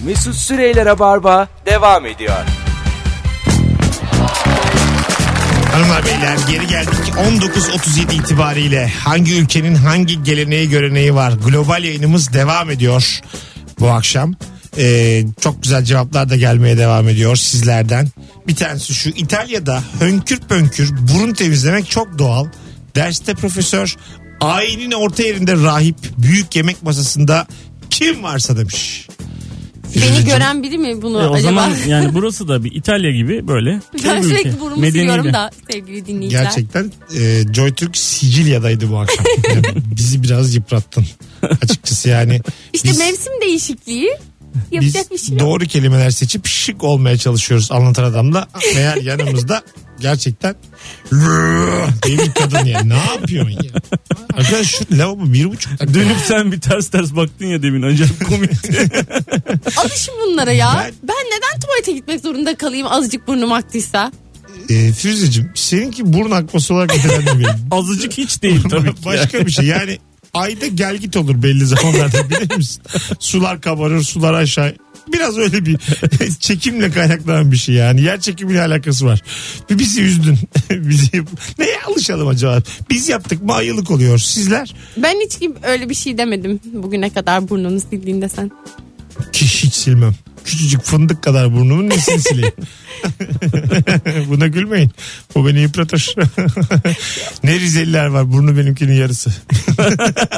Speaker 1: Mesut Süreyler'e barba devam ediyor.
Speaker 2: Hanımlar beyler geri geldik 19.37 itibariyle hangi ülkenin hangi geleneği göreneği var global yayınımız devam ediyor bu akşam. Ee, çok güzel cevaplar da gelmeye devam ediyor sizlerden. Bir tanesi şu İtalya'da hönkür pönkür burun temizlemek çok doğal. Derste profesör ayinin orta yerinde rahip büyük yemek masasında kim varsa demiş.
Speaker 3: Beni
Speaker 2: Firuzeciğim.
Speaker 3: gören biri mi bunu
Speaker 4: E, o
Speaker 3: acaba?
Speaker 4: zaman yani burası da bir İtalya gibi böyle.
Speaker 3: ben
Speaker 4: bir
Speaker 3: sürekli
Speaker 2: şey.
Speaker 4: ülke.
Speaker 3: burnumu
Speaker 4: Medeni
Speaker 3: siliyorum
Speaker 4: de.
Speaker 3: da sevgili dinleyiciler.
Speaker 2: Gerçekten e, Joy Türk Sicilya'daydı bu akşam. Yani bizi biraz yıprattın. Açıkçası yani.
Speaker 3: İşte
Speaker 2: biz-
Speaker 3: mevsim değişikliği
Speaker 2: biz
Speaker 3: yapacak bir şey yok.
Speaker 2: doğru kelimeler seçip şık olmaya çalışıyoruz anlatan adamla. Meğer yanımızda gerçekten diye bir kadın ya. Ne yapıyorsun ya? Arkadaş şu lavabo bir buçuk dakika.
Speaker 4: Dönüp sen bir ters ters baktın ya demin acayip komikti.
Speaker 3: Alışın bunlara ya.
Speaker 2: Ben-
Speaker 3: Ben... neden tuvalete gitmek zorunda kalayım azıcık burnum aktıysa?
Speaker 2: E, Firuzeciğim seninki burun akması olarak nitelendirmeyelim.
Speaker 4: Azıcık hiç değil tabii ki.
Speaker 2: Başka bir şey yani ayda gel git olur belli zamanlarda bilir misin? Sular kabarır sular aşağı. Biraz öyle bir çekimle kaynaklanan bir şey yani. Yer çekimiyle alakası var. Bir bizi üzdün. bizi neye alışalım acaba? Biz yaptık mı ayılık oluyor. Sizler
Speaker 3: Ben hiç gibi öyle bir şey demedim bugüne kadar burnunu sildiğinde sen.
Speaker 2: ki hiç silmem. Küçücük fındık kadar burnumun nesini sileyim? Buna gülmeyin. O beni yıpratır. ne Rizeliler var burnu benimkinin yarısı.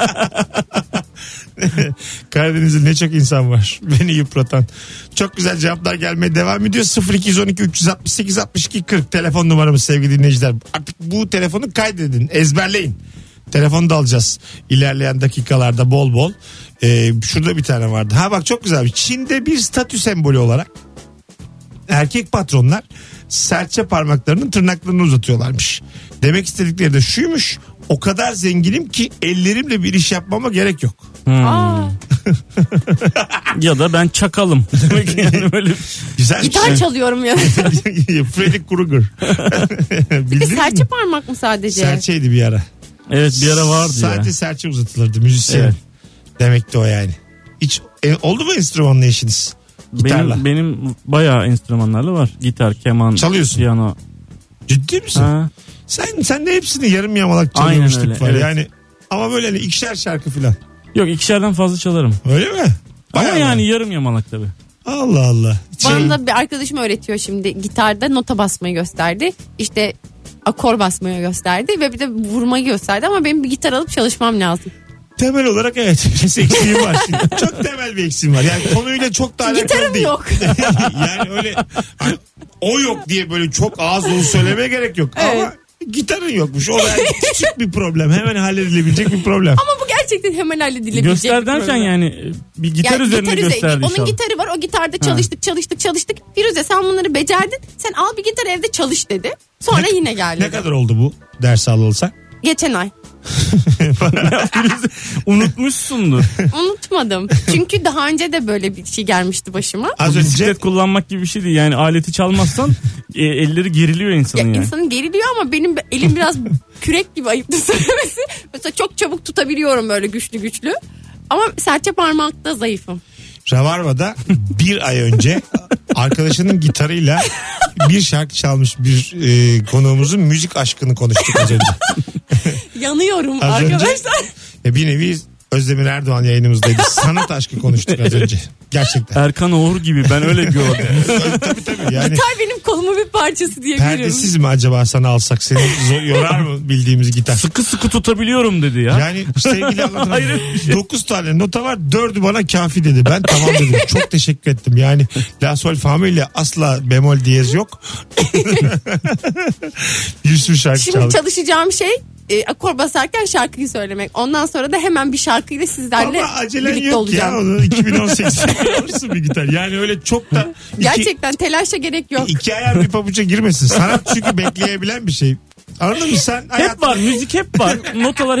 Speaker 2: Karadeniz'de ne çok insan var beni yıpratan. Çok güzel cevaplar gelmeye devam ediyor. 0212 368 62 40 telefon numaramız sevgili dinleyiciler. Artık bu telefonu kaydedin ezberleyin. Telefonu da alacağız ilerleyen dakikalarda bol bol. Ee, şurada bir tane vardı. Ha bak çok güzel. Çin'de bir statü sembolü olarak erkek patronlar serçe parmaklarının tırnaklarını uzatıyorlarmış. Demek istedikleri de şuymuş. O kadar zenginim ki ellerimle bir iş yapmama gerek yok.
Speaker 3: Aa,
Speaker 4: ya da ben çakalım. Demek yani böyle
Speaker 2: Güzel bir
Speaker 3: gitar
Speaker 2: şey.
Speaker 3: çalıyorum ya.
Speaker 2: Freddy Krueger. Bildin mi?
Speaker 3: Serçe parmak mı sadece?
Speaker 2: Serçeydi bir ara.
Speaker 4: evet bir ara vardı ya.
Speaker 2: Sadece serçe uzatılırdı müzisyen.
Speaker 4: Evet.
Speaker 2: Demekti o yani. Hiç e, oldu mu enstrümanla işiniz? Gitarla.
Speaker 4: Benim benim bayağı enstrümanlarla var. Gitar, keman,
Speaker 2: Çalıyorsun.
Speaker 4: piyano.
Speaker 2: Ciddi misin?
Speaker 4: Ha.
Speaker 2: Sen sen de hepsini yarım yamalak
Speaker 4: Aynen
Speaker 2: çalıyormuştuk
Speaker 4: öyle,
Speaker 2: var.
Speaker 4: evet.
Speaker 2: Yani ama böyle hani ikişer şarkı falan.
Speaker 4: Yok ikişerden fazla çalarım.
Speaker 2: Öyle mi? Bayağı
Speaker 4: Ama yani
Speaker 2: mı?
Speaker 4: yarım yamalak tabii.
Speaker 2: Allah Allah. Şey,
Speaker 3: Bana da bir arkadaşım öğretiyor şimdi gitarda nota basmayı gösterdi. İşte akor basmayı gösterdi ve bir de vurmayı gösterdi ama benim bir gitar alıp çalışmam lazım.
Speaker 2: Temel olarak evet. Biraz eksiğim var. Şimdi. çok temel bir eksiğim var. Yani konuyla çok da alakalı
Speaker 3: Gitarım
Speaker 2: değil.
Speaker 3: yok.
Speaker 2: yani öyle hani o yok diye böyle çok ağız dolu söylemeye gerek yok. Ama
Speaker 3: Evet.
Speaker 2: gitarın yokmuş. O yani küçük bir problem. Hemen halledilebilecek bir problem.
Speaker 3: Ama bu gerçekten hemen halledilebilecek. bir
Speaker 4: Göster derken
Speaker 3: program.
Speaker 4: yani bir gitar
Speaker 3: Yani
Speaker 4: üzerine
Speaker 3: üzerine-
Speaker 4: gösterdi
Speaker 3: Onun
Speaker 4: inşallah.
Speaker 3: gitarı var o gitarda çalıştık çalıştık çalıştık. Firuze sen bunları becerdin sen al bir gitar evde çalış dedi. Sonra yine geldi.
Speaker 2: Ne kadar oldu bu ders alırsa?
Speaker 3: Geçen ay.
Speaker 4: Unutmuşsundur.
Speaker 3: Unutmadım. Çünkü daha önce de böyle bir şey gelmişti başıma.
Speaker 2: Az önce
Speaker 4: Bisiklet kullanmak gibi bir şey değil. Yani aleti çalmazsan e, elleri geriliyor
Speaker 3: Ya
Speaker 4: insanın yani.
Speaker 3: insanın geriliyor ama benim be- elim biraz kürek gibi ayıptır söylemesi. Mesela çok çabuk tutabiliyorum böyle güçlü güçlü. Ama serçe parmakta zayıfım.
Speaker 2: Rabarba'da bir ay önce arkadaşının gitarıyla bir şarkı çalmış bir e, konuğumuzun müzik aşkını konuştuk az önce.
Speaker 3: Yanıyorum
Speaker 2: Az önce-
Speaker 3: arkadaşlar.
Speaker 2: E, bir nevi Özdemir Erdoğan yayınımızdaydı. Sanat aşkı konuştuk az önce. Gerçekten.
Speaker 4: Erkan Oğur gibi ben öyle gördüm.
Speaker 2: tabii tabii yani.
Speaker 3: Gitar benim kolumun bir parçası diyebilirim.
Speaker 2: Perdesiz mi acaba sana alsak seni zor- yorar mı bildiğimiz gitar?
Speaker 4: sıkı sıkı tutabiliyorum dedi ya.
Speaker 2: Yani sevgili Allah'ım
Speaker 4: Hayret bir şey.
Speaker 2: 9 tane nota var 4'ü bana kafi dedi. Ben tamam dedim. Çok teşekkür ettim. Yani La Sol Fami ile asla bemol diyez yok. bir sürü şarkı
Speaker 3: Şimdi
Speaker 2: çaldık.
Speaker 3: çalışacağım şey e, akor basarken şarkıyı söylemek. Ondan sonra da hemen bir şarkıyla sizlerle
Speaker 2: Ama acelen
Speaker 3: birlikte
Speaker 2: yok ya.
Speaker 3: olacağım.
Speaker 2: Onu 2018 alırsın bir gitar. Yani öyle çok da iki,
Speaker 3: Gerçekten telaşa gerek yok.
Speaker 2: iki ayar bir pabuca girmesin. Sanat çünkü bekleyebilen bir şey. Anladın mı sen?
Speaker 4: Hep
Speaker 2: hayatında-
Speaker 4: var müzik hep var. Notalar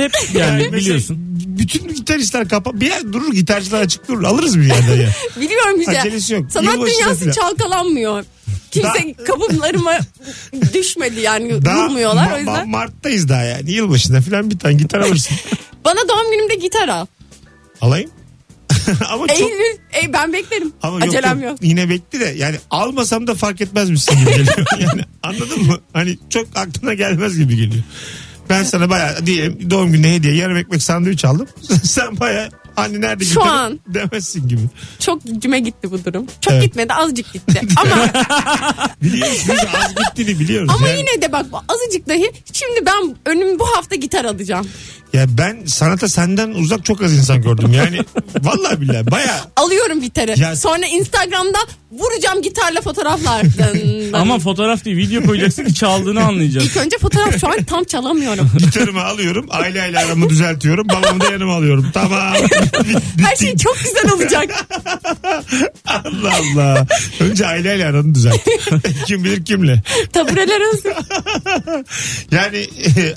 Speaker 4: hep yani
Speaker 2: mesela
Speaker 4: biliyorsun.
Speaker 2: Bütün gitaristler kapa bir yer durur gitarcılar açık durur alırız bir yerden ya.
Speaker 3: Biliyorum Hüce.
Speaker 2: Acelesi yok.
Speaker 3: Sanat
Speaker 2: Yılbaşına
Speaker 3: dünyası
Speaker 2: filan.
Speaker 3: çalkalanmıyor. Kimse kapımlarıma düşmedi yani vurmuyorlar
Speaker 2: Ma-
Speaker 3: o
Speaker 2: ma-
Speaker 3: yüzden.
Speaker 2: Mart'tayız daha yani yılbaşında falan bir tane gitar alırsın.
Speaker 3: Bana doğum günümde gitar al.
Speaker 2: Alayım. ama çok
Speaker 3: Eylül, ey ben beklerim.
Speaker 2: ama yok,
Speaker 3: Acelem
Speaker 2: yok.
Speaker 3: yok.
Speaker 2: Yine bekle de yani almasam da fark etmez misin gibi geliyor. yani anladın mı? Hani çok aklına gelmez gibi geliyor. Ben sana baya diyelim doğum gününe hediye yarım ekmek sandviç aldım. Sen baya anne nerede
Speaker 3: Şu
Speaker 2: gitarın
Speaker 3: an.
Speaker 2: demezsin gibi.
Speaker 3: Çok cüme gitti bu durum. Çok
Speaker 2: Evet.
Speaker 3: gitmedi azıcık gitti. ama
Speaker 2: Biliyoruz biz az gittiğini biliyoruz.
Speaker 3: ama
Speaker 2: Yani-
Speaker 3: yine de bak azıcık dahi şimdi ben önüm bu hafta gitar alacağım.
Speaker 2: Ya ben sanata senden uzak çok az insan gördüm. Yani vallahi billahi baya
Speaker 3: Alıyorum gitarı.
Speaker 2: Ya-
Speaker 3: Sonra Instagram'da vuracağım gitarla fotoğraflar.
Speaker 4: Ama fotoğraf değil video koyacaksın ki çaldığını
Speaker 3: İlk
Speaker 4: anlayacağız.
Speaker 3: önce fotoğraf şu an tam çalamıyorum.
Speaker 2: gitarımı alıyorum. Aileyle aramı düzeltiyorum. Babamı da yanıma alıyorum. Tamam.
Speaker 3: Her şey çok güzel olacak.
Speaker 2: Allah Allah. Önce aileyle aranı düzelt. Kim bilir kimle.
Speaker 3: Tabureler arası.
Speaker 2: Yani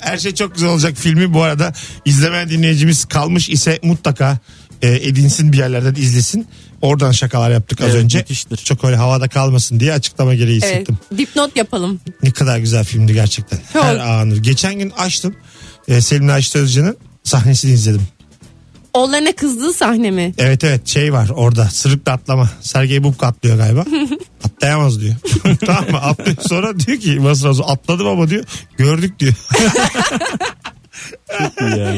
Speaker 2: her şey çok güzel olacak filmi bu arada izlemeyen dinleyicimiz kalmış ise mutlaka e, edinsin bir yerlerden izlesin. Oradan şakalar yaptık az
Speaker 4: Evet,
Speaker 2: önce.
Speaker 4: müthiştir.
Speaker 2: Çok öyle havada kalmasın diye açıklama gereği
Speaker 3: Evet.
Speaker 2: hissettim.
Speaker 3: Dipnot yapalım.
Speaker 2: Ne kadar güzel filmdi gerçekten.
Speaker 3: Çok.
Speaker 2: Her anı. Geçen gün açtım. E, Selim Naşit Özcan'ın sahnesini izledim.
Speaker 3: Oğlana kızdığı sahne mi?
Speaker 2: Evet evet şey var orada sırıkla atlama. Sergey Bubka atlıyor galiba. Atlayamaz diyor. tamam mı? Atlıyor sonra diyor ki masrafı atladım ama diyor gördük diyor.
Speaker 4: Ya.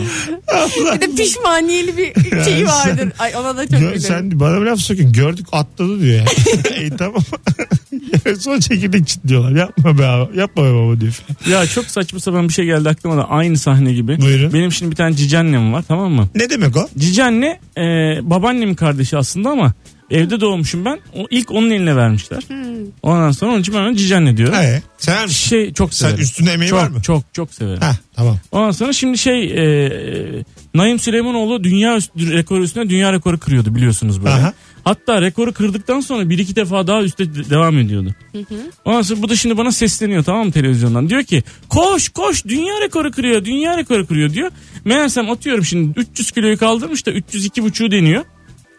Speaker 3: Bir de pişmaniyeli bir şeyi
Speaker 2: Yani sen-
Speaker 3: vardır. Ay ona da çok
Speaker 2: Gör,
Speaker 3: gülüyorum.
Speaker 2: sen bana bir laf sokuyorsun gördük atladı diyor yani. e, tamam. sonra çekirdek çitliyorlar. Yapma be abi. Yapma be baba diyor.
Speaker 4: ya çok saçma sapan bir şey geldi aklıma da aynı sahne gibi.
Speaker 2: Buyurun.
Speaker 4: Benim şimdi bir tane cici annem var tamam mı?
Speaker 2: Ne demek o?
Speaker 4: Cici anne e, babaannemin kardeşi aslında ama evde doğmuşum ben. O, ilk onun eline vermişler. Ondan sonra onun için ben ona cici anne diyorum.
Speaker 2: He, sen
Speaker 4: Şey çok
Speaker 2: Sen
Speaker 4: severim.
Speaker 2: üstünde emeği
Speaker 4: çok,
Speaker 2: var mı?
Speaker 4: Çok çok severim.
Speaker 2: Ha, tamam.
Speaker 4: Ondan sonra şimdi şey e, e, Naim Süleymanoğlu dünya üst- rekoru üstüne dünya rekoru kırıyordu biliyorsunuz böyle.
Speaker 2: Aha.
Speaker 4: Hatta rekoru kırdıktan sonra bir iki defa daha üstte de- devam ediyordu. Ondan sonra bu da şimdi bana sesleniyor tamam mı televizyondan. Diyor ki koş koş dünya rekoru kırıyor dünya rekoru kırıyor diyor. Meğersem atıyorum şimdi 300 kiloyu kaldırmış da 302,5'u deniyor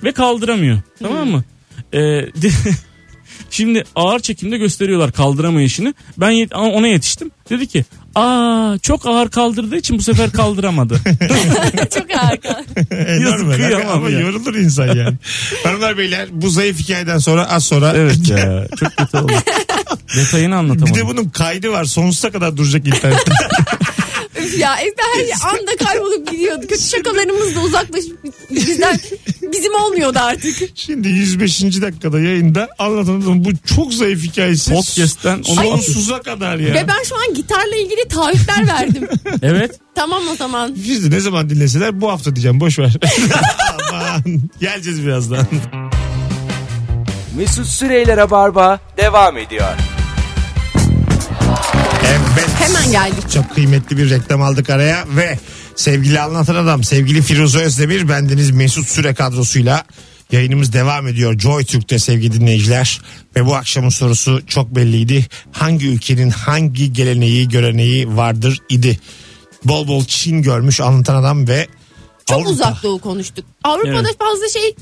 Speaker 4: ve kaldıramıyor tamam mı? Ee, de- Şimdi ağır çekimde gösteriyorlar kaldıramayışını. Ben yet- a- ona yetiştim. Dedi ki aa çok ağır kaldırdığı için bu sefer kaldıramadı.
Speaker 3: çok harika.
Speaker 2: Enorm öyle.
Speaker 4: kıyamam
Speaker 2: Ama
Speaker 4: ya.
Speaker 2: yorulur insan yani. Hanımlar beyler bu zayıf hikayeden sonra az sonra
Speaker 4: evet ya çok kötü oldu. Detayını
Speaker 2: Bir
Speaker 4: anlatamadım.
Speaker 2: de bunun kaydı var. Sonsuza kadar duracak internette.
Speaker 3: Üf ya evde her anda kaybolup gidiyordu. Kötü şakalarımız da uzaklaşıp bizden bizim olmuyordu artık.
Speaker 2: Şimdi 105. dakikada yayında anlatanın bu çok zayıf hikayesi.
Speaker 4: Podcast'ten onu
Speaker 2: sonsuza kadar ya.
Speaker 3: Ve ben şu an gitarla ilgili taahhütler verdim.
Speaker 4: Evet.
Speaker 3: tamam o zaman.
Speaker 2: Biz de ne zaman dinleseler bu hafta diyeceğim boş ver. Aman. Geleceğiz birazdan.
Speaker 1: Mesut Süreyler'e barba devam ediyor.
Speaker 2: Evet.
Speaker 3: Hemen geldik.
Speaker 2: Çok kıymetli bir reklam aldık araya ve sevgili anlatan adam sevgili Firuze Özdemir bendeniz Mesut Süre kadrosuyla yayınımız devam ediyor Joy Türk'te sevgili dinleyiciler ve bu akşamın sorusu çok belliydi hangi ülkenin hangi geleneği göreneği vardır idi bol bol Çin görmüş anlatan adam ve
Speaker 3: Çok
Speaker 2: Avrupa.
Speaker 3: uzak doğu konuştuk. Avrupa'da
Speaker 4: Evet.
Speaker 3: fazla şey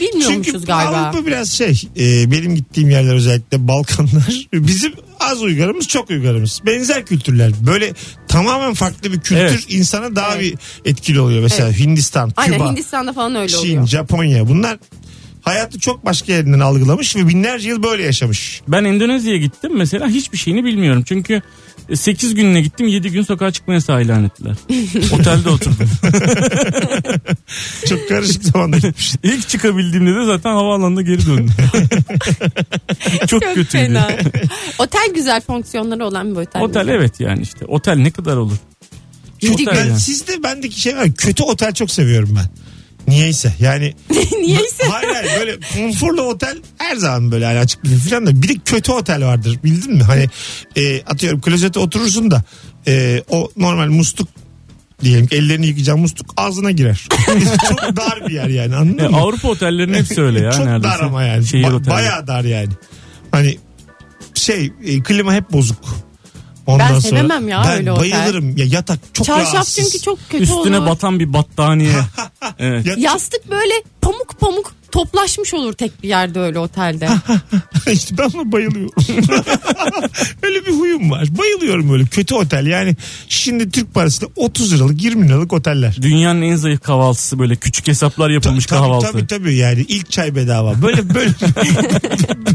Speaker 3: bilmiyormuşuz
Speaker 2: Çünkü
Speaker 3: galiba.
Speaker 2: Avrupa biraz şey e, benim gittiğim yerler özellikle Balkanlar bizim az uygarımız çok uygarımız. Benzer kültürler böyle tamamen farklı bir kültür
Speaker 4: Evet.
Speaker 2: insana daha bir etkili oluyor. Mesela Hindistan,
Speaker 3: Aynen
Speaker 2: Küba,
Speaker 3: Hindistan'da falan öyle
Speaker 2: Çin,
Speaker 3: oluyor.
Speaker 2: Japonya bunlar hayatı çok başka yerinden algılamış ve binlerce yıl böyle yaşamış.
Speaker 4: Ben Endonezya'ya gittim mesela hiçbir şeyini bilmiyorum. Çünkü 8 gününe gittim 7 gün sokağa çıkma yasağı ilan ettiler. Otelde oturdum.
Speaker 2: Çok karışık zamanda gitmiş.
Speaker 4: İlk çıkabildiğimde de zaten havaalanında geri döndüm. Çok,
Speaker 3: Çok
Speaker 4: kötüydü.
Speaker 3: fena. otel güzel fonksiyonları olan bir otel.
Speaker 4: Otel evet yani işte. Otel ne kadar olur?
Speaker 3: Yedi
Speaker 4: Otel
Speaker 2: Ben,
Speaker 4: yani.
Speaker 2: sizde bendeki şey var. Kötü otel çok seviyorum ben. Niyeyse yani
Speaker 3: Niyeyse.
Speaker 2: hayır hayır böyle konforlu otel her zaman böyle hani açık büfe falan da bir de kötü otel vardır bildin mi? Hani e, atıyorum klozete oturursun da e, o normal musluk diyelim ki ellerini yıkayacağın musluk ağzına girer. çok dar bir yer yani anladın
Speaker 4: E,
Speaker 2: mı?
Speaker 4: Avrupa otellerinin hepsi öyle ya
Speaker 2: Çok
Speaker 4: neredeyse.
Speaker 2: dar ama yani.
Speaker 4: Şehir
Speaker 2: Ba-
Speaker 4: otelleri.
Speaker 2: bayağı dar yani. Hani şey e, klima hep bozuk. Ondan
Speaker 3: Ben
Speaker 2: sonra,
Speaker 3: sevemem ya
Speaker 2: ben
Speaker 3: öyle otel.
Speaker 2: bayılırım. Ya yatak çok
Speaker 3: Çarşaf
Speaker 2: rahatsız.
Speaker 3: çünkü çok kötü
Speaker 4: Üstüne
Speaker 3: olur.
Speaker 4: batan bir battaniye. evet.
Speaker 2: Ya-
Speaker 3: Yastık böyle pamuk pamuk toplaşmış olur tek bir yerde öyle otelde.
Speaker 2: işte ben buna bayılıyorum. öyle bir huyum var. Bayılıyorum öyle kötü otel. Yani şimdi Türk parasıyla 30 liralık 20 liralık oteller.
Speaker 4: Dünyanın en zayıf kahvaltısı böyle küçük hesaplar yapılmış
Speaker 2: tabii,
Speaker 4: kahvaltı.
Speaker 2: Tabii tabii yani ilk çay bedava. Böyle böyle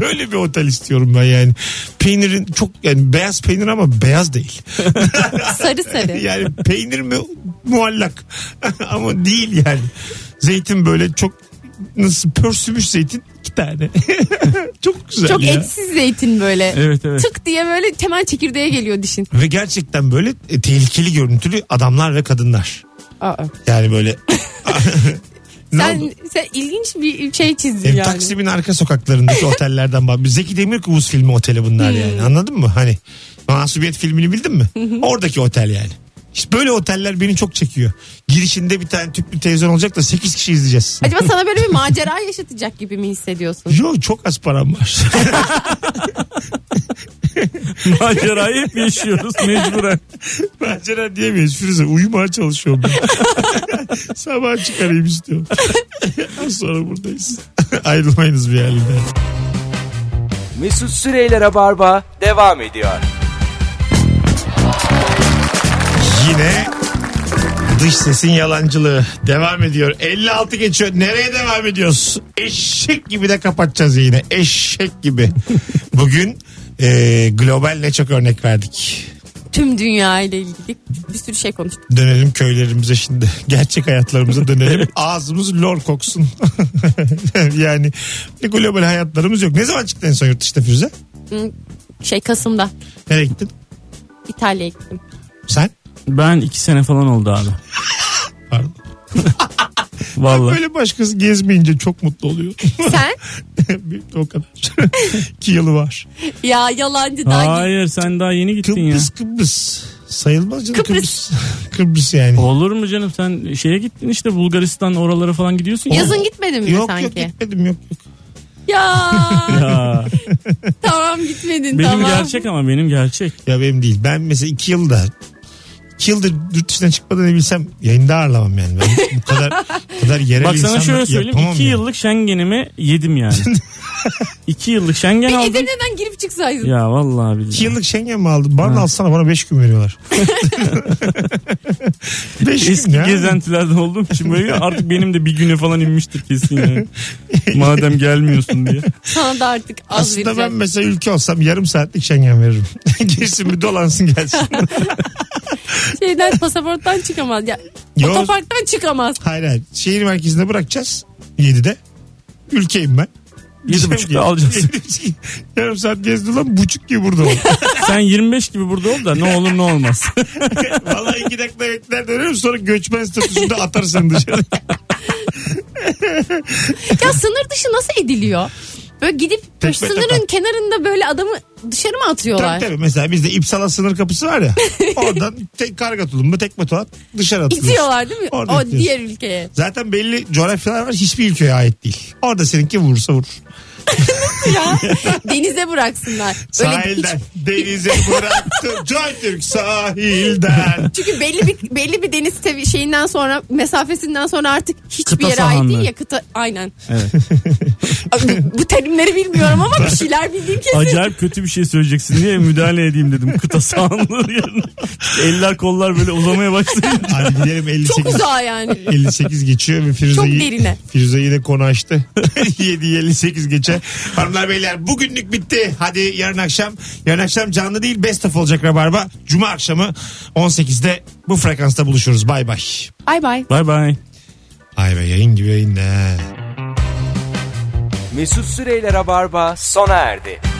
Speaker 2: böyle bir otel istiyorum ben yani. Peynirin çok yani beyaz peynir ama beyaz değil.
Speaker 3: sarı sarı.
Speaker 2: yani peynir mi muallak ama değil yani. Zeytin böyle çok nasıl pörsümüş zeytin iki tane. çok güzel
Speaker 3: Çok
Speaker 2: ya.
Speaker 3: etsiz zeytin böyle.
Speaker 4: Evet evet.
Speaker 3: Tık diye böyle temel çekirdeğe geliyor dişin.
Speaker 2: Ve gerçekten böyle e, tehlikeli görüntülü adamlar ve kadınlar.
Speaker 3: Aa.
Speaker 2: Yani böyle Ne
Speaker 3: Sen,
Speaker 2: oldu?
Speaker 3: sen ilginç bir şey çizdin
Speaker 2: Hem
Speaker 3: yani.
Speaker 2: Taksim'in arka sokaklarındaki otellerden bahsediyor. Zeki Demirkubuz filmi oteli bunlar
Speaker 3: Hmm.
Speaker 2: yani. Anladın mı? Hani Masumiyet filmini bildin mi? Oradaki otel yani. İşte böyle oteller beni çok çekiyor. Girişinde bir tane tüplü televizyon olacak da 8 kişi izleyeceğiz.
Speaker 3: Acaba sana böyle bir macera yaşatacak gibi mi hissediyorsun?
Speaker 2: Yo çok az param var.
Speaker 4: Macerayı hep yaşıyoruz mecburen.
Speaker 2: Macera diyemeyiz Firuze. Uyumaya çalışıyorum ben. Sabah çıkarayım istiyorum. Az sonra buradayız. Ayrılmayınız bir yerden.
Speaker 1: Mesut Süreyler'e barba devam ediyor.
Speaker 2: Yine dış sesin yalancılığı devam ediyor. 56 geçiyor. Nereye devam ediyoruz? Eşek gibi de kapatacağız yine. Eşek gibi. Bugün e, global ne çok örnek verdik.
Speaker 3: Tüm dünya ile ilgili bir sürü şey konuştuk.
Speaker 2: Dönelim köylerimize şimdi. Gerçek hayatlarımıza dönelim. Ağzımız lor koksun. yani bir global hayatlarımız yok. Ne zaman çıktın en son yurt dışına Firuze?
Speaker 3: Şey Kasım'da
Speaker 2: Nereye gittin?
Speaker 3: İtalya'ya gittim.
Speaker 2: Sen?
Speaker 4: Ben iki sene falan oldu abi.
Speaker 2: Pardon.
Speaker 4: Vallahi.
Speaker 2: Böyle başkası gezmeyince çok mutlu oluyor.
Speaker 3: Sen?
Speaker 2: Benim de o kadar. İki yılı var.
Speaker 3: Ya yalancı daha git.
Speaker 4: Hayır sen daha yeni gittin ya.
Speaker 2: Kıbrıs Kıbrıs. Sayılmaz canım Kıbrıs.
Speaker 3: Kıbrıs.
Speaker 2: Kıbrıs, yani.
Speaker 4: Olur mu canım sen şeye gittin işte Bulgaristan oralara falan gidiyorsun ya.
Speaker 3: Yazın gitmedin mi
Speaker 2: Yok yok
Speaker 3: sanki?
Speaker 2: gitmedim yok. yok.
Speaker 3: Ya
Speaker 4: Ya,
Speaker 3: tamam gitmedin
Speaker 4: benim
Speaker 3: tamam.
Speaker 4: gerçek ama benim gerçek.
Speaker 2: Ya benim değil. Ben mesela iki yılda iki yıldır yurt dışına çıkmadığını bilsem yayında ağırlamam yani. Ben bu kadar bu kadar yerel
Speaker 4: Bak sana
Speaker 2: insanla
Speaker 4: şöyle söyleyeyim
Speaker 2: yapamam
Speaker 4: 2
Speaker 2: yani.
Speaker 4: yıllık Schengen'imi yedim yani. 2 yıllık Schengen
Speaker 3: Bir
Speaker 4: aldım.
Speaker 3: Edirne'den girip çıksaydın.
Speaker 4: Ya vallahi billahi.
Speaker 2: İki yıllık Schengen mi aldın? Bana alsana bana beş gün veriyorlar. beş
Speaker 4: Eski
Speaker 2: gün ya.
Speaker 4: gezentilerde olduğum için böyle artık benim de bir güne falan inmiştir kesin yani. Madem gelmiyorsun diye.
Speaker 3: Sana da artık az şey.
Speaker 2: Aslında ben
Speaker 3: vereceğim.
Speaker 2: mesela ülke olsam yarım saatlik Schengen veririm. Girsin bir dolansın gelsin.
Speaker 3: Şeyden pasaporttan çıkamaz. Ya,
Speaker 2: Yok.
Speaker 3: otoparktan çıkamaz.
Speaker 2: Hayır hayır. Şehir merkezinde bırakacağız. 7'de. Ülkeyim ben.
Speaker 4: Yedi buçukta alacaksın.
Speaker 2: Yarım saat gezdi lan buçuk gibi burada ol.
Speaker 4: Sen 25 gibi burada ol da ne olur ne olmaz.
Speaker 2: Vallahi iki dakika bekler dönerim sonra göçmen statüsünde atarsın dışarı.
Speaker 3: Ya sınır dışı nasıl ediliyor? Böyle gidip
Speaker 2: Tekme
Speaker 3: sınırın
Speaker 2: tokat.
Speaker 3: kenarında böyle adamı dışarı mı atıyorlar?
Speaker 2: tabii tabii mesela bizde İpsala sınır kapısı var ya. Oradan tek karga tulumba tekme tokat dışarı atılıyorsun.
Speaker 3: İtiyorlar değil mi?
Speaker 2: Orada
Speaker 3: o
Speaker 2: itiyorsun.
Speaker 3: diğer ülkeye.
Speaker 2: Zaten belli coğrafyalar var hiçbir ülkeye ait değil. Orada seninki vurursa vurur.
Speaker 3: Ya denize bıraksınlar. Öyle hiç-
Speaker 2: Sahilden denize bıraktım. Joy Türk sahilden.
Speaker 3: çünkü belli bir belli bir deniz sevi- şeyinden sonra mesafesinden sonra artık hiçbir
Speaker 4: Kıta
Speaker 3: yere ait
Speaker 4: sahanlığı.
Speaker 3: değil ya kıta aynen. Abi bu- bu terimleri bilmiyorum ama bir şeyler bildiğim kesin.
Speaker 4: Acayip kötü bir şey söyleyeceksin diye müdahale edeyim dedim. Kıta sahanlığı yerine. Eller kollar böyle uzamaya başlayınca.
Speaker 2: Hadi gidelim 58.
Speaker 3: Çok uzağa yani.
Speaker 2: 58 geçiyor ve Firuze'yi,
Speaker 3: Çok derine.
Speaker 2: Firuze'yi de konu açtı. 7 58 geçe. Hanımlar beyler bugünlük bitti. Hadi yarın akşam. Yarın akşam canlı değil best of olacak Rabarba. Cuma akşamı 18'de bu frekansta buluşuruz. Bay bay.
Speaker 3: Bay bay.
Speaker 4: Bay bay.
Speaker 2: Ay be yayın gibi yayın ne.
Speaker 1: Mesut Süreyler'e barba sona erdi.